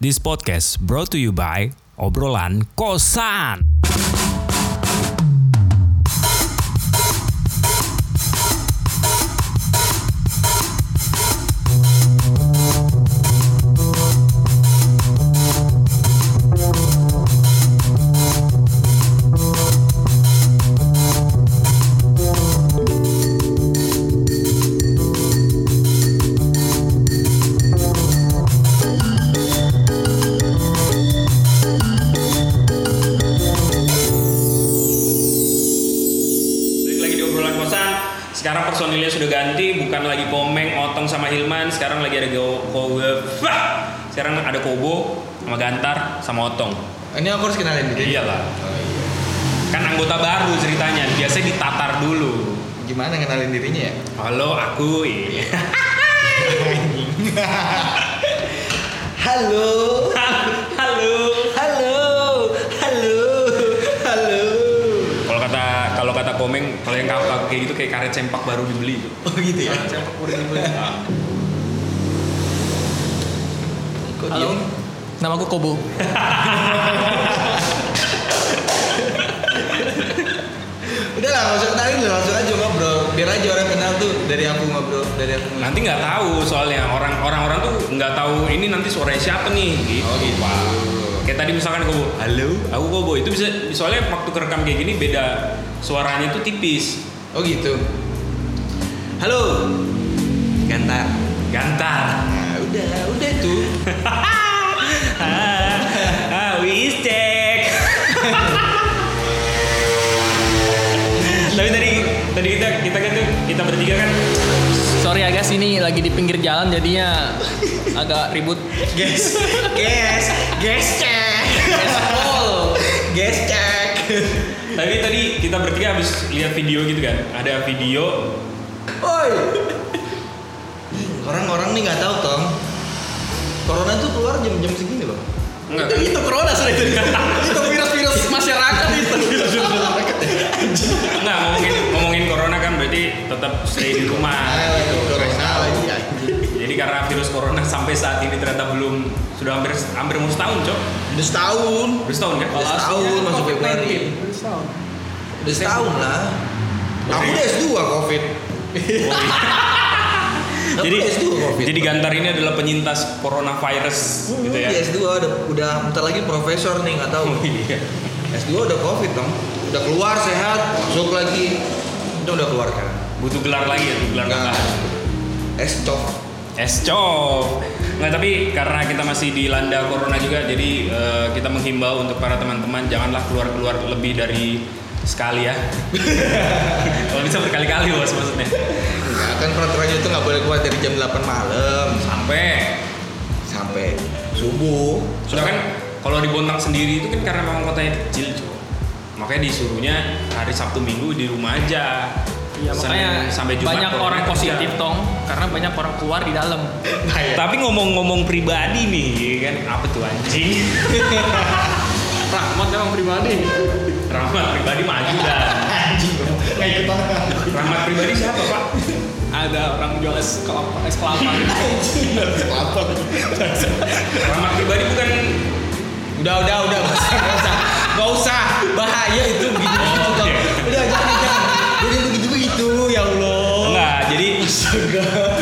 This podcast brought to you by Obrolan Kosan. Balik lagi di obrolan kosan. Sekarang personilnya sudah ganti, bukan lagi Komeng, Otong sama Hilman. Sekarang lagi ada Kobo. Sekarang ada Kobo sama Gantar sama Otong. Ini aku harus kenalin diri. Iyalah. Kan anggota baru ceritanya. Biasanya ditatar dulu. Gimana kenalin dirinya ya? Halo, aku iya. ini. Halo. Halo. Halo. Halo. Halo. Kalau kata kalau kata Komeng, kalau yang kayak kayak gitu kayak karet sempak baru dibeli. Oh gitu ya. Sempak baru dibeli. Kok Halo. diem? Nama aku Kobo. Udah lah, nggak usah kenalin lah, langsung aja ngobrol. Biar aja orang kenal tuh dari aku ngobrol, dari aku. ngobrol. Nanti nggak tahu soalnya orang orang orang tuh nggak tahu ini nanti suaranya siapa nih gitu. Oh gitu. Kayak tadi misalkan Kobo, Halo. Aku kok boy itu bisa soalnya waktu kerekam kayak gini beda suaranya tuh tipis. Oh gitu. Halo. Gantar. Gantar. Nah, udah, udah tuh. Ah, wis cek. Tapi tadi tadi kita kita kan tuh kita bertiga kan Sorry ya guys, ini lagi di pinggir jalan jadinya agak ribut. Guys, guys, guys cek. Gaspol. Guys cek. tapi tadi kita bertiga habis lihat video gitu kan. Ada video Oi. Orang-orang nih nggak tahu Tom. Corona tuh keluar jam-jam segini loh. enggak Itu, itu corona sudah itu. itu virus-virus masyarakat itu. enggak ngomongin ngomongin corona kan berarti tetap stay di rumah. lagi corona lagi anjing. Jadi karena virus corona sampai saat ini ternyata belum sudah hampir hampir mau setahun, Cok. Udah setahun. Udah setahun kan? Udah setahun masuk Februari. Udah setahun lah. Aku udah S2 Covid. Aku jadi udah S2 Covid. jadi Gantar ini adalah penyintas coronavirus Hmm, gitu ya. di S2 udah, udah bentar lagi profesor nih nggak tahu. Iya. S2 udah Covid dong. Udah keluar sehat, masuk lagi. Itu udah keluar kan. Butuh gelar lagi ya, butuh gelar Enggak. tambahan. S cov. Escov. Nggak, tapi karena kita masih dilanda corona juga, jadi eh, kita menghimbau untuk para teman-teman janganlah keluar-keluar lebih dari sekali ya. Kalau bisa berkali-kali bos maksudnya. Enggak, kan peraturannya itu nggak boleh keluar dari jam 8 malam Sampai sampai subuh. sudah kan kalau di Bontang sendiri itu kan karena memang kotanya kecil cuy. Makanya disuruhnya hari Sabtu Minggu di rumah aja. Iya, makanya Senin sampai Jumat banyak corona orang kerja. positif tong karena banyak orang keluar di dalam. Nah, iya. ya. Tapi ngomong-ngomong pribadi nih, ya kan apa tuh anjing? Rahmat memang pribadi. Rahmat pribadi maju dah. anjing dong. Nggak ikut banget. Rahmat pribadi siapa pak? Ada orang jual es kelapa, es kelapa. Anjing, harus lapor. Rahmat pribadi bukan Udah, udah, udah, nggak usah, nggak usah, nggak usah, bahaya itu begitu begitu Oh, Tom. oke. Udah, jangan, jangan, udah begitu begitu, ya Allah. enggak. Jadi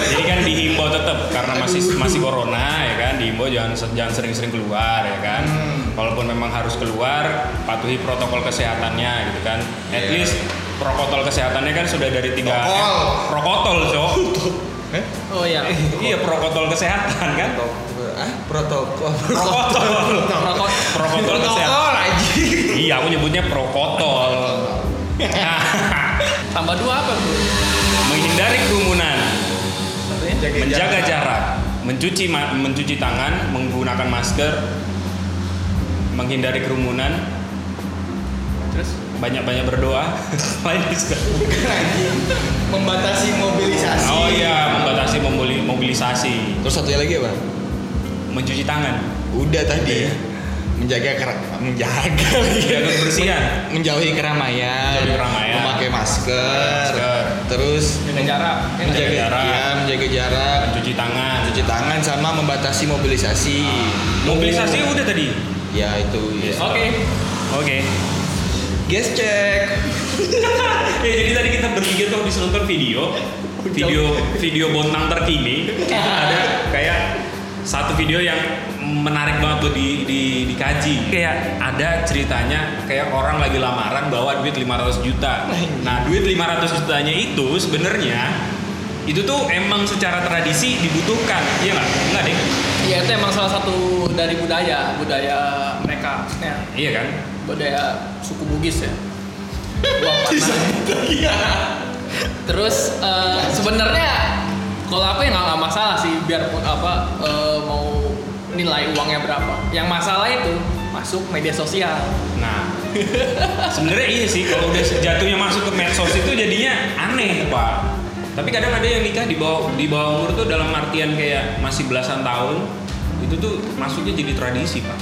jadi kan dihimbau tetap karena masih masih corona ya kan, dihimbau jangan jangan sering-sering keluar ya kan. Hmm. Walaupun memang harus keluar, patuhi protokol kesehatannya gitu kan. At Iya. least protokol kesehatannya kan sudah dari tiga Protokol. protokol cok. Eh? Oh iya. iya protokol kesehatan kan. Protokol, ah, protokol, Protokol. Rokok. Protokol kesehatan. protokol aja. Iya, aku nyebutnya prokotol. Tambah dua apa tuh? Menghindari kerumunan, Satunya Iya, menjaga jarak, mencuci ma- mencuci tangan, menggunakan masker, menghindari kerumunan, Terus banyak-banyak berdoa. Lain juga. Anjing. membatasi mobilisasi. Oh iya, membatasi mobili- mobilisasi, Terus satunya lagi apa? mencuci tangan, Udah Udah tadi. ya? Menjaga kera menjaga menjaga kebersihan. menjauhi keramaian, Menjauhi keramaian. memakai masker, Masker. terus Jaga jarak. ya nggak? menjaga jarak. jarak, menjaga jarak, Cuci tangan. cuci tangan sama membatasi mobilisasi. Mobilisasi Iya. udah tadi. Ya itu. Ya. Oke. Oke. Guys cek. ya jadi tadi kita bertiga tuh habis nonton video video video bontang terkini ada kayak satu video yang menarik banget tuh di, di dikaji kayak ada ceritanya kayak orang lagi lamaran bawa duit 500 juta nah duit 500 jutanya itu sebenarnya itu tuh emang secara tradisi dibutuhkan iya nggak nggak deh Iya itu emang salah satu dari budaya budaya mereka, ya. iya kan budaya suku Bugis ya. Uang panas. Iya. Terus eh, sebenarnya kalau aku ya nggak nggak masalah sih biarpun apa eh, mau nilai uangnya berapa. Yang masalah itu masuk media sosial. Nah, sebenarnya iya sih kalau udah jatuhnya masuk ke medsos itu jadinya aneh pak. Tapi kadang ada yang nikah di bawah di bawah umur tuh dalam artian kayak masih belasan tahun itu tuh masuknya jadi tradisi pak.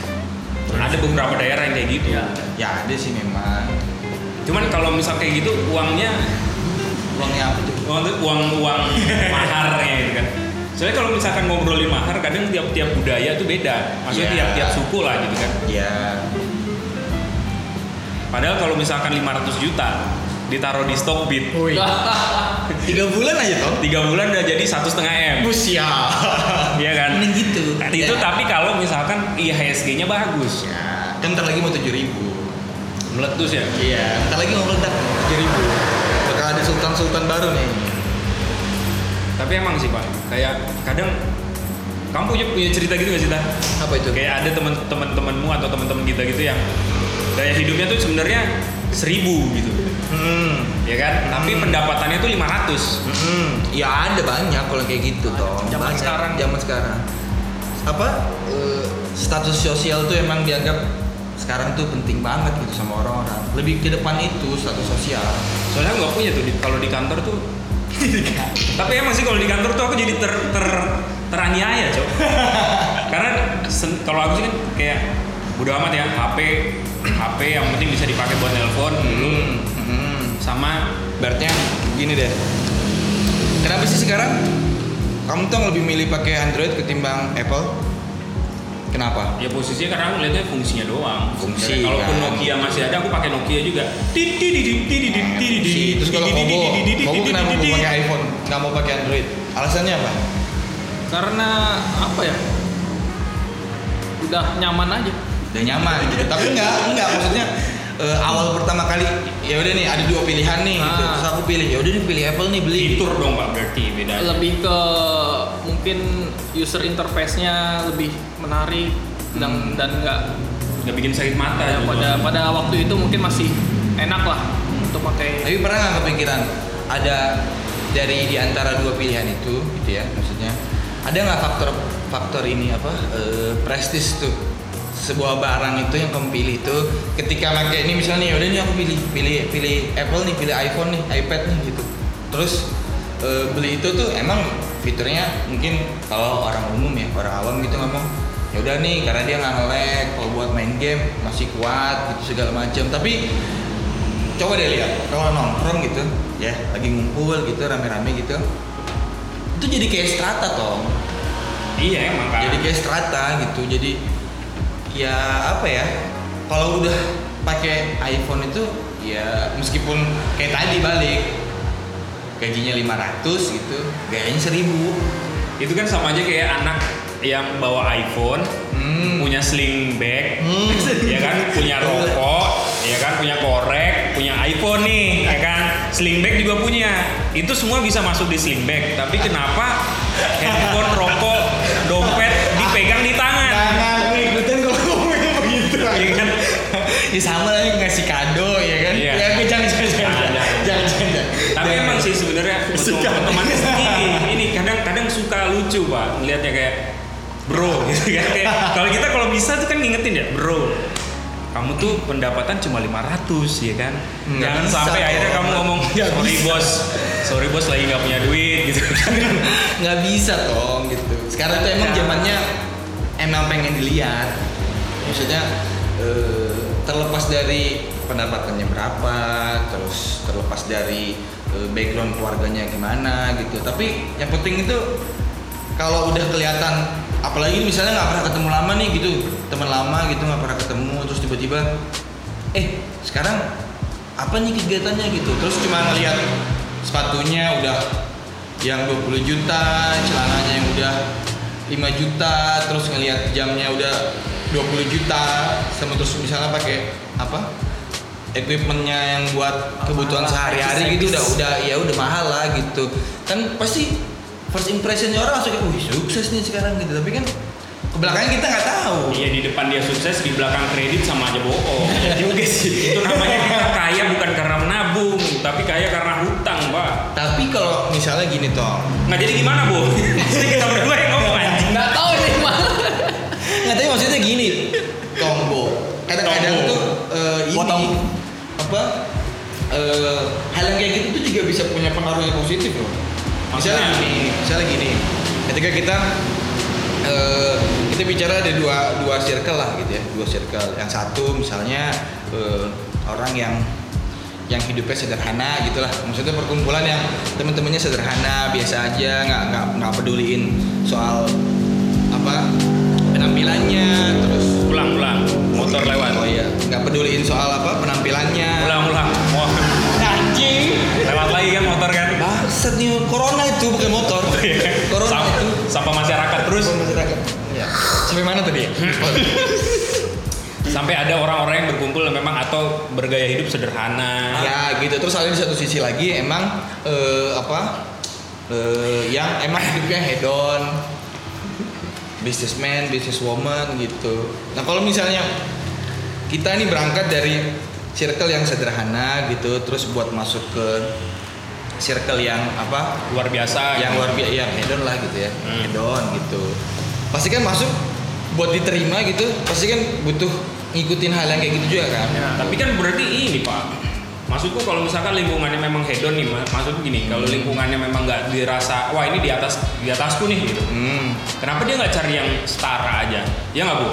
Ada beberapa daerah yang kayak gitu. Ya. Ya ada sih memang. Cuman kalau misal kayak gitu uangnya Uangnya apa tuh? uang uang, uang maharnya gitu kan. Soalnya kalau misalkan ngobrolin mahar kadang tiap-tiap budaya tuh beda. Maksudnya Iya. tiap-tiap suku lah gitu kan. Ya. Padahal kalau misalkan 500 juta ditaruh di Stockbit Tiga bulan aja toh. tiga bulan udah jadi satu setengah m Busia. ya. Iya kan Mending gitu. itu Ya. tapi kalau misalkan IHSG nya bagus Ya. Kan ntar lagi mau tujuh ribu. meletus ya Iya. Ntar lagi mau meledak tujuh ribu. Bakal ada sultan sultan baru nih. tapi emang sih pak kayak kadang kamu punya, punya cerita gitu gak sih Ta? Apa itu? kayak ada temen temen temenmu atau temen temen kita gitu yang gaya hidupnya tuh sebenarnya seribu gitu Hmm. ya kan tapi Hmm. pendapatannya tuh 500 Hmm, ya ada banyak kalau kayak gitu toh. zaman Banyak. sekarang. zaman sekarang. Apa eh, status sosial tuh emang dianggap sekarang tuh penting banget gitu sama orang-orang. Lebih ke depan itu status sosial. soalnya aku nggak punya tuh di, kalau di kantor tuh tapi emang sih kalau di kantor tuh aku jadi ter ter teraniaya cok karena sen- kalau aku sih kan kayak bodo amat ya HP HP yang penting bisa dipakai buat nelpon dulu Hmm. sama Berarti gini deh. Kenapa sih sekarang kamu tuh lebih milih pakai Android ketimbang Apple? Kenapa? ya posisinya karena aku lihatnya fungsinya doang Fungsi, kalaupun kan. Nokia masih ada aku pakai Nokia juga Sih, terus kalau Kobo, Kobo kenapa mau pakai iPhone? Nggak mau pakai Android? Alasannya apa? Karena apa ya? Udah nyaman aja. udah nyaman gitu tapi enggak enggak maksudnya eh, awal pertama kali ya udah nih ada dua pilihan nih gitu. Ah. terus aku pilih ya udah nih pilih Apple nih beli fitur dong pak berarti Ya, beda Lebih ke mungkin user interface-nya lebih menarik dan dan nggak nggak bikin sakit mata ya, gitu. pada pada waktu itu mungkin masih enak lah untuk pakai tapi pernah nggak kepikiran ada dari di antara dua pilihan itu gitu ya maksudnya ada nggak faktor faktor ini apa eh, prestis tuh sebuah barang itu yang kamu pilih itu ketika pakai ini misalnya ya udah nih aku pilih pilih pilih Apple nih pilih iPhone nih iPad nih gitu terus eh, beli itu tuh emang fiturnya mungkin kalau orang umum ya orang awam gitu ngomong ya udah nih karena dia nggak nge-lag kalau buat main game masih kuat gitu segala macam tapi coba deh lihat kalau nongkrong gitu ya lagi ngumpul gitu rame-rame gitu itu jadi kayak strata toh iya emang kan jadi kayak strata gitu jadi ya apa ya kalau udah pakai iPhone itu ya meskipun kayak tadi balik gajinya 500 gitu gayanya 1000 itu kan sama aja kayak anak yang bawa iPhone hmm. punya sling bag Hmm. ya kan punya rokok ya kan punya korek punya iPhone nih ya kan sling bag juga punya itu semua bisa masuk di sling bag tapi kenapa handphone rokok dompet dipegang di tangan Jangan ngikutin kalau ngomongnya begitu ya kan ya sama lah ngasih kado ya kan Iya. ya gue jangan jangan jangan Jangan. jangan jangan tapi Jangan. emang sih sebenarnya untuk Iya. Suka. teman ini ini kadang-kadang suka lucu pak melihatnya kayak bro gitu kan Kayak, kalau kita kalau bisa tuh kan ngingetin ya bro kamu tuh pendapatan cuma 500 ya kan Nggak jangan bisa, sampai Bro. akhirnya kamu ngomong Nggak sorry bisa." bos sorry bos lagi nggak punya duit gitu kan nggak bisa dong gitu sekarang tuh emang Ya. zamannya emang pengen dilihat maksudnya eh, terlepas dari pendapatannya berapa, terus terlepas dari eh, background keluarganya gimana gitu. Tapi yang penting itu kalau udah kelihatan, apalagi misalnya nggak pernah ketemu lama nih gitu, teman lama gitu nggak pernah ketemu, terus tiba-tiba, eh sekarang apa nih kegiatannya gitu, terus cuma ngelihat sepatunya udah yang 20 juta, celananya yang udah 5 juta, terus ngelihat jamnya udah 20 juta, sama terus misalnya pakai apa? equipmentnya yang buat kebutuhan mahal lah, sehari-hari gitu udah udah ya udah mahal lah gitu kan pasti first impressionnya orang langsung kayak wih sukses nih sekarang gitu tapi kan kebelakangan kita nggak tahu Iya di depan dia sukses, di belakang kredit sama aja bohong. Iya juga sih. Itu namanya kita kaya bukan karena menabung, tapi kaya karena hutang, Pak. tapi kalau misalnya gini toh Nggak jadi gimana, Bu? Pasti kita berdua yang ngomong anjing. nggak tahu nih malah Nggak, tapi maksudnya gini, tombo. Kadang-kadang Tombo. tuh eh, ini Potong. apa eh, hal yang kayak gitu tuh juga bisa punya pengaruh yang positif loh. Misalnya Maksudnya? gini, misalnya gini. Ketika kita eh, kita bicara ada dua dua circle lah gitu ya, dua circle. Yang satu misalnya eh, orang yang yang hidupnya sederhana gitulah maksudnya perkumpulan yang teman-temannya sederhana biasa aja nggak nggak nggak peduliin soal apa penampilannya terus Ulang-ulang, motor lewat. oh iya nggak peduliin soal apa penampilannya Ulang-ulang. Wah, anjing lewat lagi kan motor kan. bangsat nih corona itu bukan motor corona Sampah, itu sampah masyarakat terus Bukan masyarakat ya. sampai mana tadi ya sampai ada orang-orang yang berkumpul yang memang atau bergaya hidup sederhana. ya gitu terus ada di satu sisi lagi emang eh, apa eh, yang emang hidupnya hedon businessman businesswoman gitu nah kalau misalnya kita ini berangkat dari circle yang sederhana gitu terus buat masuk ke circle yang apa Luar biasa. yang gitu. luar biasa yang hedon lah gitu ya Hmm. hedon gitu pasti kan masuk buat diterima gitu pasti kan butuh ngikutin hal yang kayak gitu juga kan Ya, tapi kan berarti ini pak maksudku kalau misalkan lingkungannya memang hedon nih ma- maksud gini kalau lingkungannya memang nggak dirasa wah ini di atas di atasku nih gitu hmm. kenapa dia nggak cari yang setara aja ya nggak bu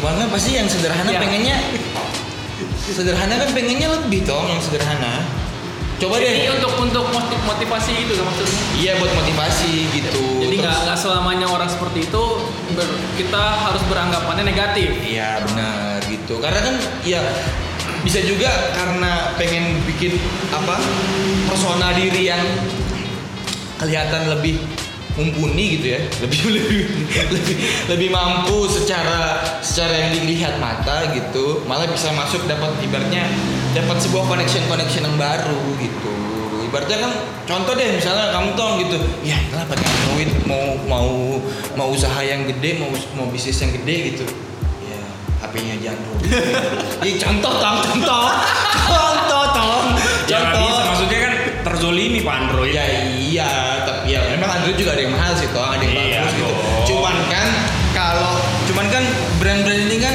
cuman kan pasti yang sederhana Ya. pengennya sederhana kan pengennya lebih dong yang sederhana coba jadi deh untuk untuk motiv- motivasi itu maksudnya iya buat motivasi gitu jadi nggak Terus- nggak selamanya orang seperti itu ber- kita harus beranggapannya negatif Iya benar gitu. Karena kan ya bisa juga karena pengen bikin apa persona diri yang kelihatan lebih mumpuni gitu ya, lebih lebih lebih, lebih mampu secara secara yang dilihat mata gitu, malah bisa masuk dapat ibaratnya dapat sebuah connection connection yang baru gitu. Ibaratnya kan contoh deh misalnya kamu tong gitu, ya lah pakai duit mau mau mau usaha yang gede, mau mau bisnis yang gede gitu. Ya, HP-nya jangan rugi. Ih, contoh tong, contoh. Contoh tong. ya nggak bisa Contoh. maksudnya kan terzolimi pak Android Ya iya, tapi ya memang Android juga ada yang mahal sih toh, ada yang Iya, bagus gitu. dong. Cuman kan kalau cuman kan brand-brand ini kan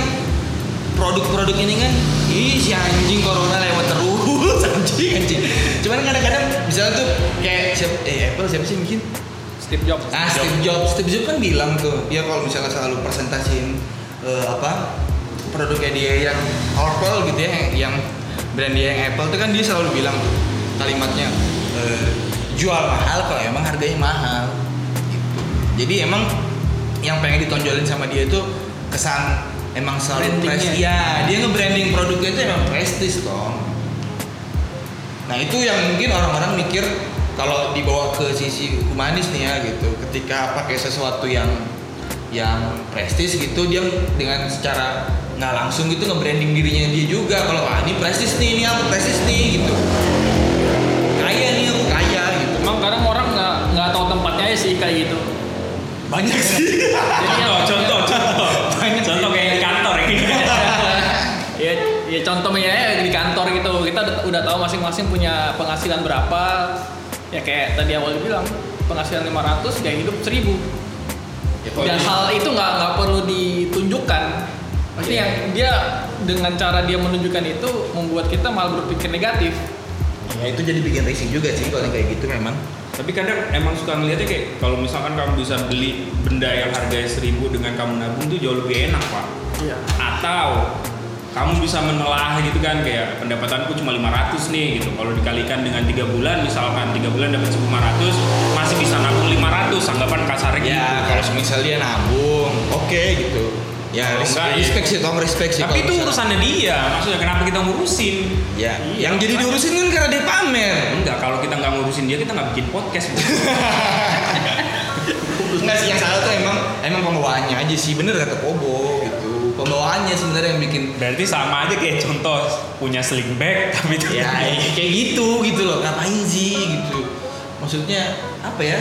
produk-produk ini kan ih si anjing corona lewat terus anjing anjing. Cuman kan kadang-kadang misalnya tuh kayak siap- eh Apple siapa sih yang bikin? Steve Jobs Nah, Steve Jobs, Steve Jobs kan bilang tuh, dia kalau misalnya selalu presentasiin eh, apa produknya dia yang Apple gitu ya, yang- yang brand dia yang Apple tuh kan dia selalu bilang tuh, kalimatnya eh, jual mahal kalau emang harganya mahal. Gitu. Jadi emang yang pengen ditonjolin sama dia itu kesan emang selalu Brandingnya. prestis. Ya, dia nge-branding produknya itu emang prestis dong. Nah itu yang mungkin orang-orang mikir kalau dibawa ke sisi humanis nih ya gitu. Ketika pakai sesuatu yang yang prestis gitu dia dengan secara nggak langsung gitu nge-branding dirinya dia juga kalau ah ini prestis nih ini aku prestis nih gitu kaya nih aku kaya gitu emang kadang orang nggak nggak tahu tempatnya aja sih kayak gitu banyak sih Jadi contoh yang- contoh contoh Banyak. contoh kayak di kantor ya. ya, ya contohnya ya di kantor gitu kita udah, udah tahu masing-masing punya penghasilan berapa ya kayak tadi awal bilang penghasilan 500 gaya hidup 1000 Ya, dan hal itu nggak nggak perlu ditunjukkan pasti Iya. yang dia dengan cara dia menunjukkan itu membuat kita malah berpikir negatif ya itu jadi bikin racing juga sih kalau yang kayak gitu memang tapi kadang emang suka ngeliatnya kayak kalau misalkan kamu bisa beli Iya. benda yang harganya seribu dengan kamu nabung tuh jauh lebih enak pak iya atau kamu bisa menelah gitu kan kayak pendapatanku cuma 500 nih gitu kalau dikalikan dengan tiga bulan misalkan tiga bulan dapat 1500 masih bisa nabung 500 anggapan kasar gitu ya kalau semisal dia nabung oke gitu ya Kalau enggak, respect, ya. respect sih tong respect sih tapi kalau itu misalnya. urusannya dia maksudnya kenapa kita ngurusin ya yang jadi diurusin kan karena dia pamer enggak kalau kita nggak ngurusin dia kita nggak bikin podcast Bu. Enggak sih yang salah tuh emang emang pembawaannya aja sih bener kata Kobo gitu pembawaannya sebenarnya yang bikin berarti sama aja kayak contoh punya sling bag tapi itu ya kayak gitu gitu loh ngapain sih gitu maksudnya apa ya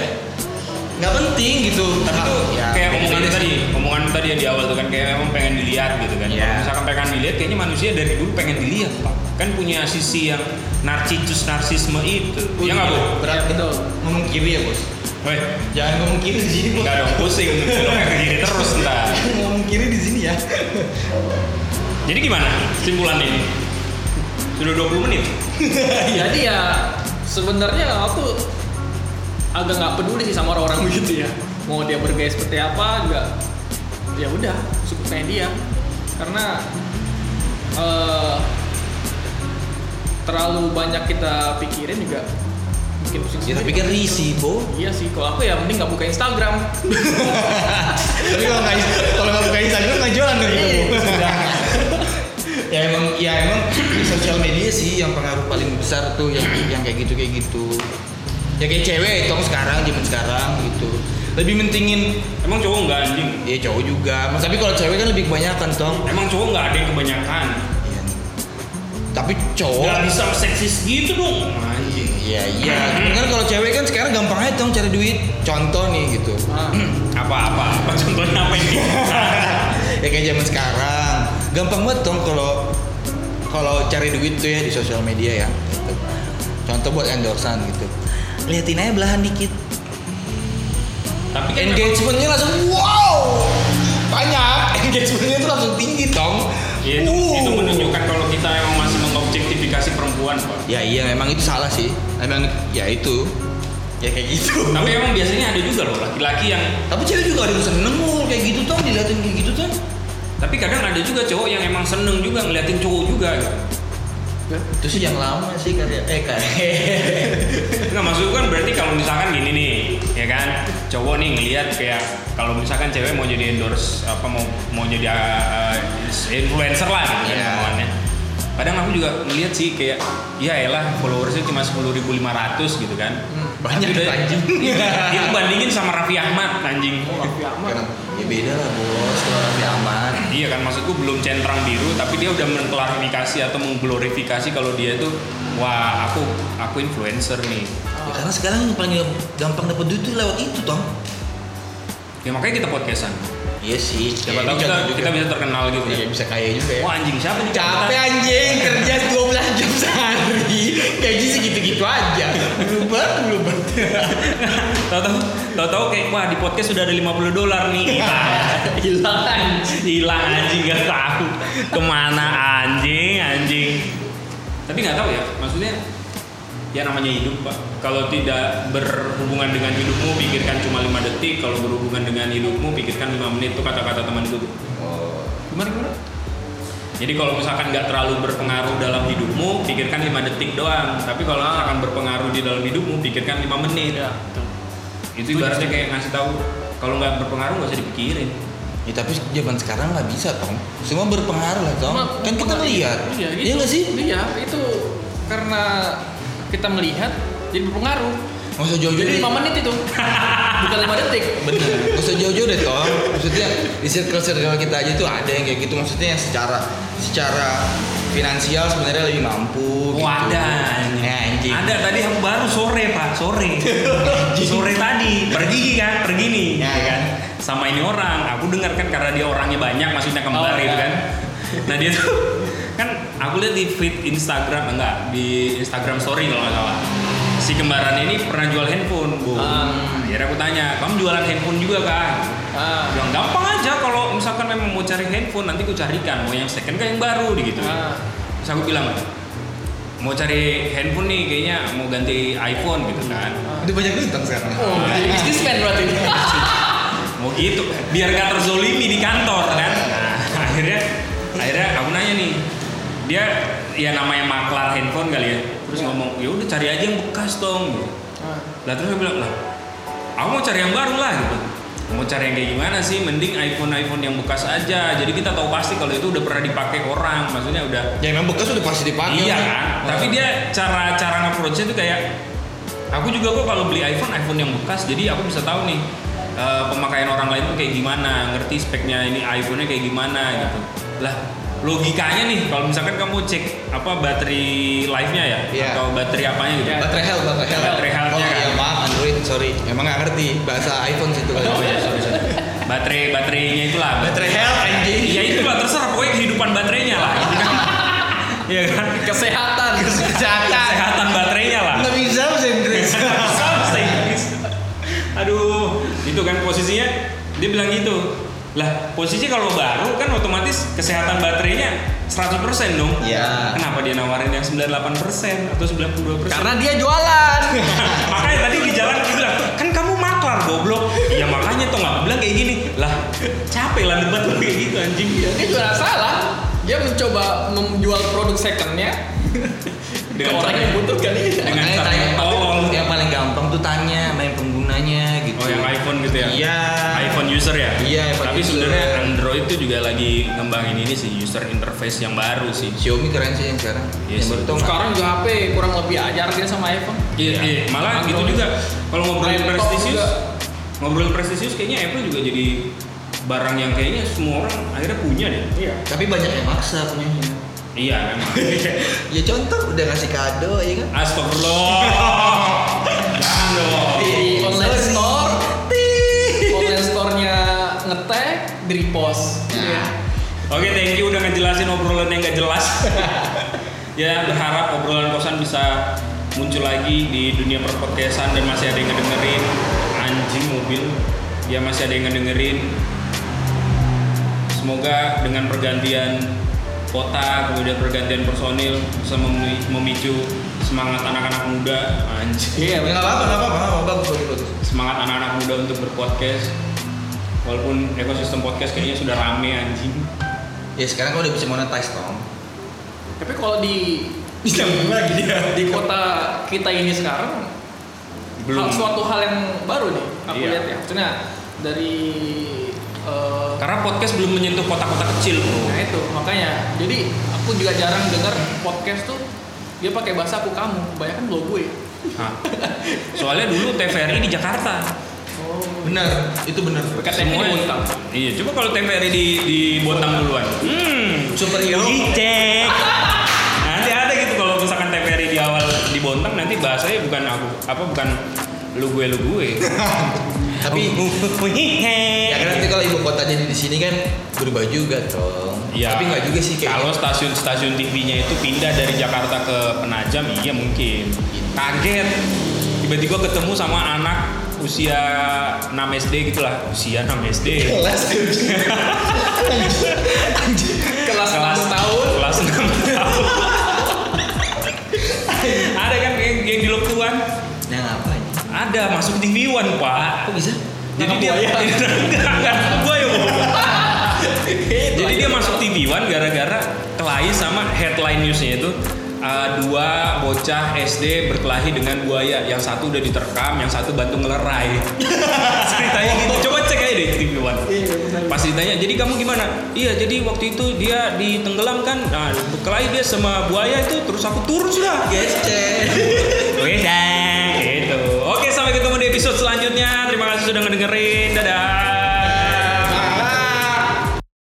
nggak penting gitu tapi tuh kayak beda-beda omongan gitu sih. tadi omongan tadi yang di awal tuh kan kayak memang pengen dilihat gitu kan Iya. kalau misalkan pengen dilihat kayaknya manusia dari dulu pengen dilihat pak kan punya sisi yang narcissus narsisme itu Uh, ya nggak bu berat Iya, betul. ngomong kiri ya bos Weh, jangan ngomong kiri di sini bos nggak dong pusing Beloknya ke kiri terus ntar ngomong kiri di sini ya jadi gimana simpulannya ini sudah 20 menit Jadi ya sebenarnya aku agak nggak peduli sih sama orang-orang begitu ya. Mau dia bergaya seperti apa juga ya udah sukanya dia. Karena eh, terlalu banyak kita pikirin juga bikin pusing ya tapi sendiri. kan risih bo Iya sih, kalau aku ya mending nggak buka Instagram. tapi kalau nggak kalau nggak buka Instagram nggak jualan dari iya. ya emang ya emang sosial media sih yang pengaruh paling besar tuh yang yang kayak gitu kayak gitu ya kayak cewek itu sekarang zaman sekarang gitu lebih mentingin emang cowok nggak anjing ya cowok juga Mas, tapi kalau cewek kan lebih kebanyakan tong emang cowok nggak ada yang kebanyakan Ya. tapi cowok nggak bisa seksis gitu dong anjing Iya iya. Cuman kan kalau cewek kan sekarang gampang aja dong cari duit. Contoh nih gitu. Nah, apa-apa apa contohnya apa ini ya kayak zaman sekarang gampang banget dong kalau kalau cari duit tuh ya di sosial media ya. Gitu. Contoh buat endorsan gitu. Liatin aja belahan dikit. tapi kan memang- Engagementnya langsung wow banyak. Engagementnya tuh langsung tinggi dong. Uh. Ya, itu, Wow. itu menunjukkan kalau kita emang masih mengobjektifikasi perempuan, Pak. Ya iya memang itu salah sih. Emang ya itu. Ya kayak gitu. Tapi emang biasanya ada juga loh laki-laki yang Tapi cewek juga ada yang seneng loh kayak gitu tuh diliatin kayak gitu tuh. tapi kadang ada juga cowok yang emang seneng juga ngeliatin cowok juga. gitu. itu sih yang lama sih karya eh karya Nggak maksud kan berarti kalau misalkan gini nih, ya kan, cowok nih ngelihat kayak kalau misalkan cewek mau jadi endorse apa mau mau jadi uh, influencer lah gitu Iya. kan omongannya. Kadang aku juga ngeliat sih kayak ya elah followersnya cuma 10.500 gitu kan. banyak Tapi tuh udah- Iya, anjing Dia bandingin sama Raffi Ahmad anjing. Raffi Ahmad. Karena- ya beda lah bos kalau Raffi Ahmad Iya kan maksudku belum centang biru tapi dia udah mengklarifikasi atau mengglorifikasi kalau dia itu wah aku aku influencer nih. ya, karena sekarang yang paling gampang dapet duit tuh lewat itu toh Ya makanya kita podcastan. iya sih Siapa tahu kita, kita bisa terkenal gitu. iya, kan. bisa kaya juga ya Wah anjing siapa nih? capek anjing kerja 12 jam sehari gaji segitu-gitu aja berubah berubah Tahu-tahu tahu-tahu kayak wah di podcast sudah ada 50 dolar nih. Hilang. Hilang Hilang anjing gak tahu kemana anjing anjing. Tapi nggak tahu ya maksudnya ya namanya hidup pak kalau tidak berhubungan dengan hidupmu pikirkan cuma lima detik kalau berhubungan dengan hidupmu pikirkan lima menit itu kata-kata teman itu Oh. Gimana gimana? jadi kalau misalkan nggak terlalu berpengaruh dalam hidupmu pikirkan lima detik doang tapi kalau misalkan berpengaruh di dalam hidupmu pikirkan lima menit Ah. Iya, betul. itu ibaratnya kayak ngasih tahu kalau nggak berpengaruh nggak usah dipikirin ya tapi zaman sekarang nggak bisa tong semua berpengaruh lah tong Cuma kan kita pengaruh- melihat Iya, gitu. iya nggak sih Iya, itu karena kita melihat jadi berpengaruh. nggak usah jauh-jauh deh. Jadi 5 menit itu. Bukan 5 detik. bener gak usah jauh-jauh deh Tom maksudnya di circle circle kita aja tuh ada yang kayak gitu maksudnya yang secara secara finansial sebenarnya lebih mampu Oh, gitu. ada Ya, anjing Ada tadi aku baru sore pak, sore. sore tadi pergi kan, pergi nih. ya Ya, ya. kan? Sama ini orang, aku dengar kan karena dia orangnya banyak, maksudnya kembar Oh, gitu ya. kan. Nah dia tuh kan aku lihat di feed Instagram enggak di Instagram story kalau nggak salah. Si kembaran ini pernah jual handphone, bu. Ah. Akhirnya aku tanya, kamu jualan handphone juga kan? Ah. Bilang gampang aja kalau misalkan memang mau cari handphone nanti aku carikan mau yang second kan yang baru gitu. Ah. Terus aku bilang mau cari handphone nih kayaknya mau ganti iPhone gitu kan. itu banyak tentang sekarang Oh, jadi businessman berarti. Ah. Mau gitu biar gak terzolimi di kantor kan. Nah, akhirnya akhirnya aku nanya nih dia ya namanya maklar handphone kali ya terus ngomong ya udah cari aja yang bekas dong gitu. lah terus aku bilang lah aku mau cari yang baru lah gitu mau cari yang kayak gimana sih mending iPhone iPhone yang bekas aja jadi kita tahu pasti kalau itu udah pernah dipakai orang maksudnya udah Ya memang bekas udah pasti dipakai. iya Om. kan Wah. tapi dia cara cara nge-approach-nya tuh kayak aku juga kok kalau beli iPhone iPhone yang bekas jadi aku bisa tahu nih eh, pemakaian orang lain tuh kayak gimana ngerti speknya ini iPhone-nya kayak gimana gitu lah logikanya nih kalau misalkan kamu cek apa baterai life-nya ya Iya. atau baterai apanya gitu Iya. baterai health, baterai health. Baterai health-nya Oh, kan. iya, maaf Android, sorry. Emang nggak ngerti bahasa iPhone situ kan. oh ya sorry sorry baterai baterainya itulah Baterai health anjing. ya itulah terserah pokoknya kehidupan baterainya lah gitu kan? Iya kan Kesehatan. Kesehatan. kesehatan baterainya lah Nggak bisa bahasa Inggris. Sampai. Aduh, itu kan posisinya dia bilang gitu. Lah, posisi kalau baru kan otomatis kesehatan baterainya 100% dong. Iya. Kenapa dia nawarin yang 98% atau 92%? Karena dia jualan. makanya tadi di jalan aku bilang, "Kan kamu maklar, goblok." Ya makanya tuh nggak aku bilang kayak gini. Lah, capek lah debat lu kayak gitu anjing ya. Dia jualan salah. Dia mencoba menjual produk secondnya ke Dengan orang cara- yang butuhkan iya. Dengan Makanya cara tanya, yang tolol. yang paling gampang tuh tanya main penggunanya gitu. Oh, yang iPhone gitu ya. Iya. iPhone user ya. Iya, iPhone Tapi user. sebenarnya Android itu juga lagi ngembangin ini sih user interface yang baru sih. Xiaomi keren sih yang sekarang. Iya yang sih. baru tuh nggak- Sekarang juga HP kurang lebih aja harganya sama iPhone. Iya, iya. malah Android. gitu juga. Kalau ngobrolin Laptop prestisius, juga. ngobrolin prestisius kayaknya Apple juga jadi barang yang kayaknya semua orang akhirnya punya deh. Iya. Tapi banyak yang maksa punya. Iya memang. Ya contoh udah ngasih kado ya kan. Astagfirullah. Jangan dong. Di online Sorry. store, Tih. online store-nya ngetag, di repost. Iya. Nah. Oke, thank you udah ngejelasin obrolan yang gak jelas. ya, berharap obrolan kosan bisa muncul lagi di dunia perpodcastan dan masih ada yang ngedengerin anjing mobil. Ya masih ada yang ngedengerin. Semoga dengan pergantian kota, kemudian pergantian personil bisa memi- memicu semangat anak-anak muda, anjing. Iya, Ya nggak apa-apa, nggak apa-apa, nggak apa-apa, bagus, bagus, bagus. Semangat anak-anak muda untuk berpodcast. Walaupun ekosistem podcast kayaknya sudah rame anjing. Ya sekarang kau udah bisa monetize Tom. Tapi kalau di Disambung lagi dia. di kota kita ini sekarang hal- suatu hal yang baru nih aku Iya. lihat ya. Maksudnya dari eh, Karena podcast belum menyentuh kota-kota kecil, bro. Nah itu makanya. Jadi aku juga jarang dengar podcast tuh dia pakai bahasa aku kamu. Kebanyakan ya. lo gue. Hah. Nah, Soalnya dulu TVRI di Jakarta. Oh. Benar, itu benar. KTP di Bontang. Iya, coba kalau TVRI di di Bontang duluan. Hmm. Superhero. Dicek. nanti ada gitu kalau misalkan TVRI di awal di Bontang nanti bahasanya bukan aku apa bukan lu gue lu gue. Oh. Tapi ya kan nanti kalau ibu kota jadi di sini kan berubah juga Tom. Iya. Tapi nggak juga sih Kalau kayak gitu. stasiun-stasiun TV-nya itu pindah dari Jakarta ke Penajam, iya mungkin. Kaget. Tiba-tiba ketemu sama anak usia 6 SD gitu lah. Usia 6 SD. kelas Kelas Kelas 6 tahun. Kelas 6 tahun. Ada kan yang, yang di Lektuan? Nah ngapain? Ada masuk TV One, Pak. Kok bisa? Jadi dia enggak enggak gua ya. Bu. Jadi dia masuk TV One gara-gara kelahi sama headline newsnya itu uh, dua bocah SD berkelahi dengan buaya. Yang satu udah diterkam, yang satu bantu ngelerai. Ceritanya gitu. Coba cek aja deh TV One. Pas ditanya, jadi kamu gimana? Iya, jadi waktu itu dia ditenggelamkan. Nah, berkelahi dia sama buaya itu terus aku turun sudah. Gitu. Gesek. Oke, gitu. Oke, sampai ketemu di episode selanjutnya. Terima kasih sudah ngedengerin. Dadah.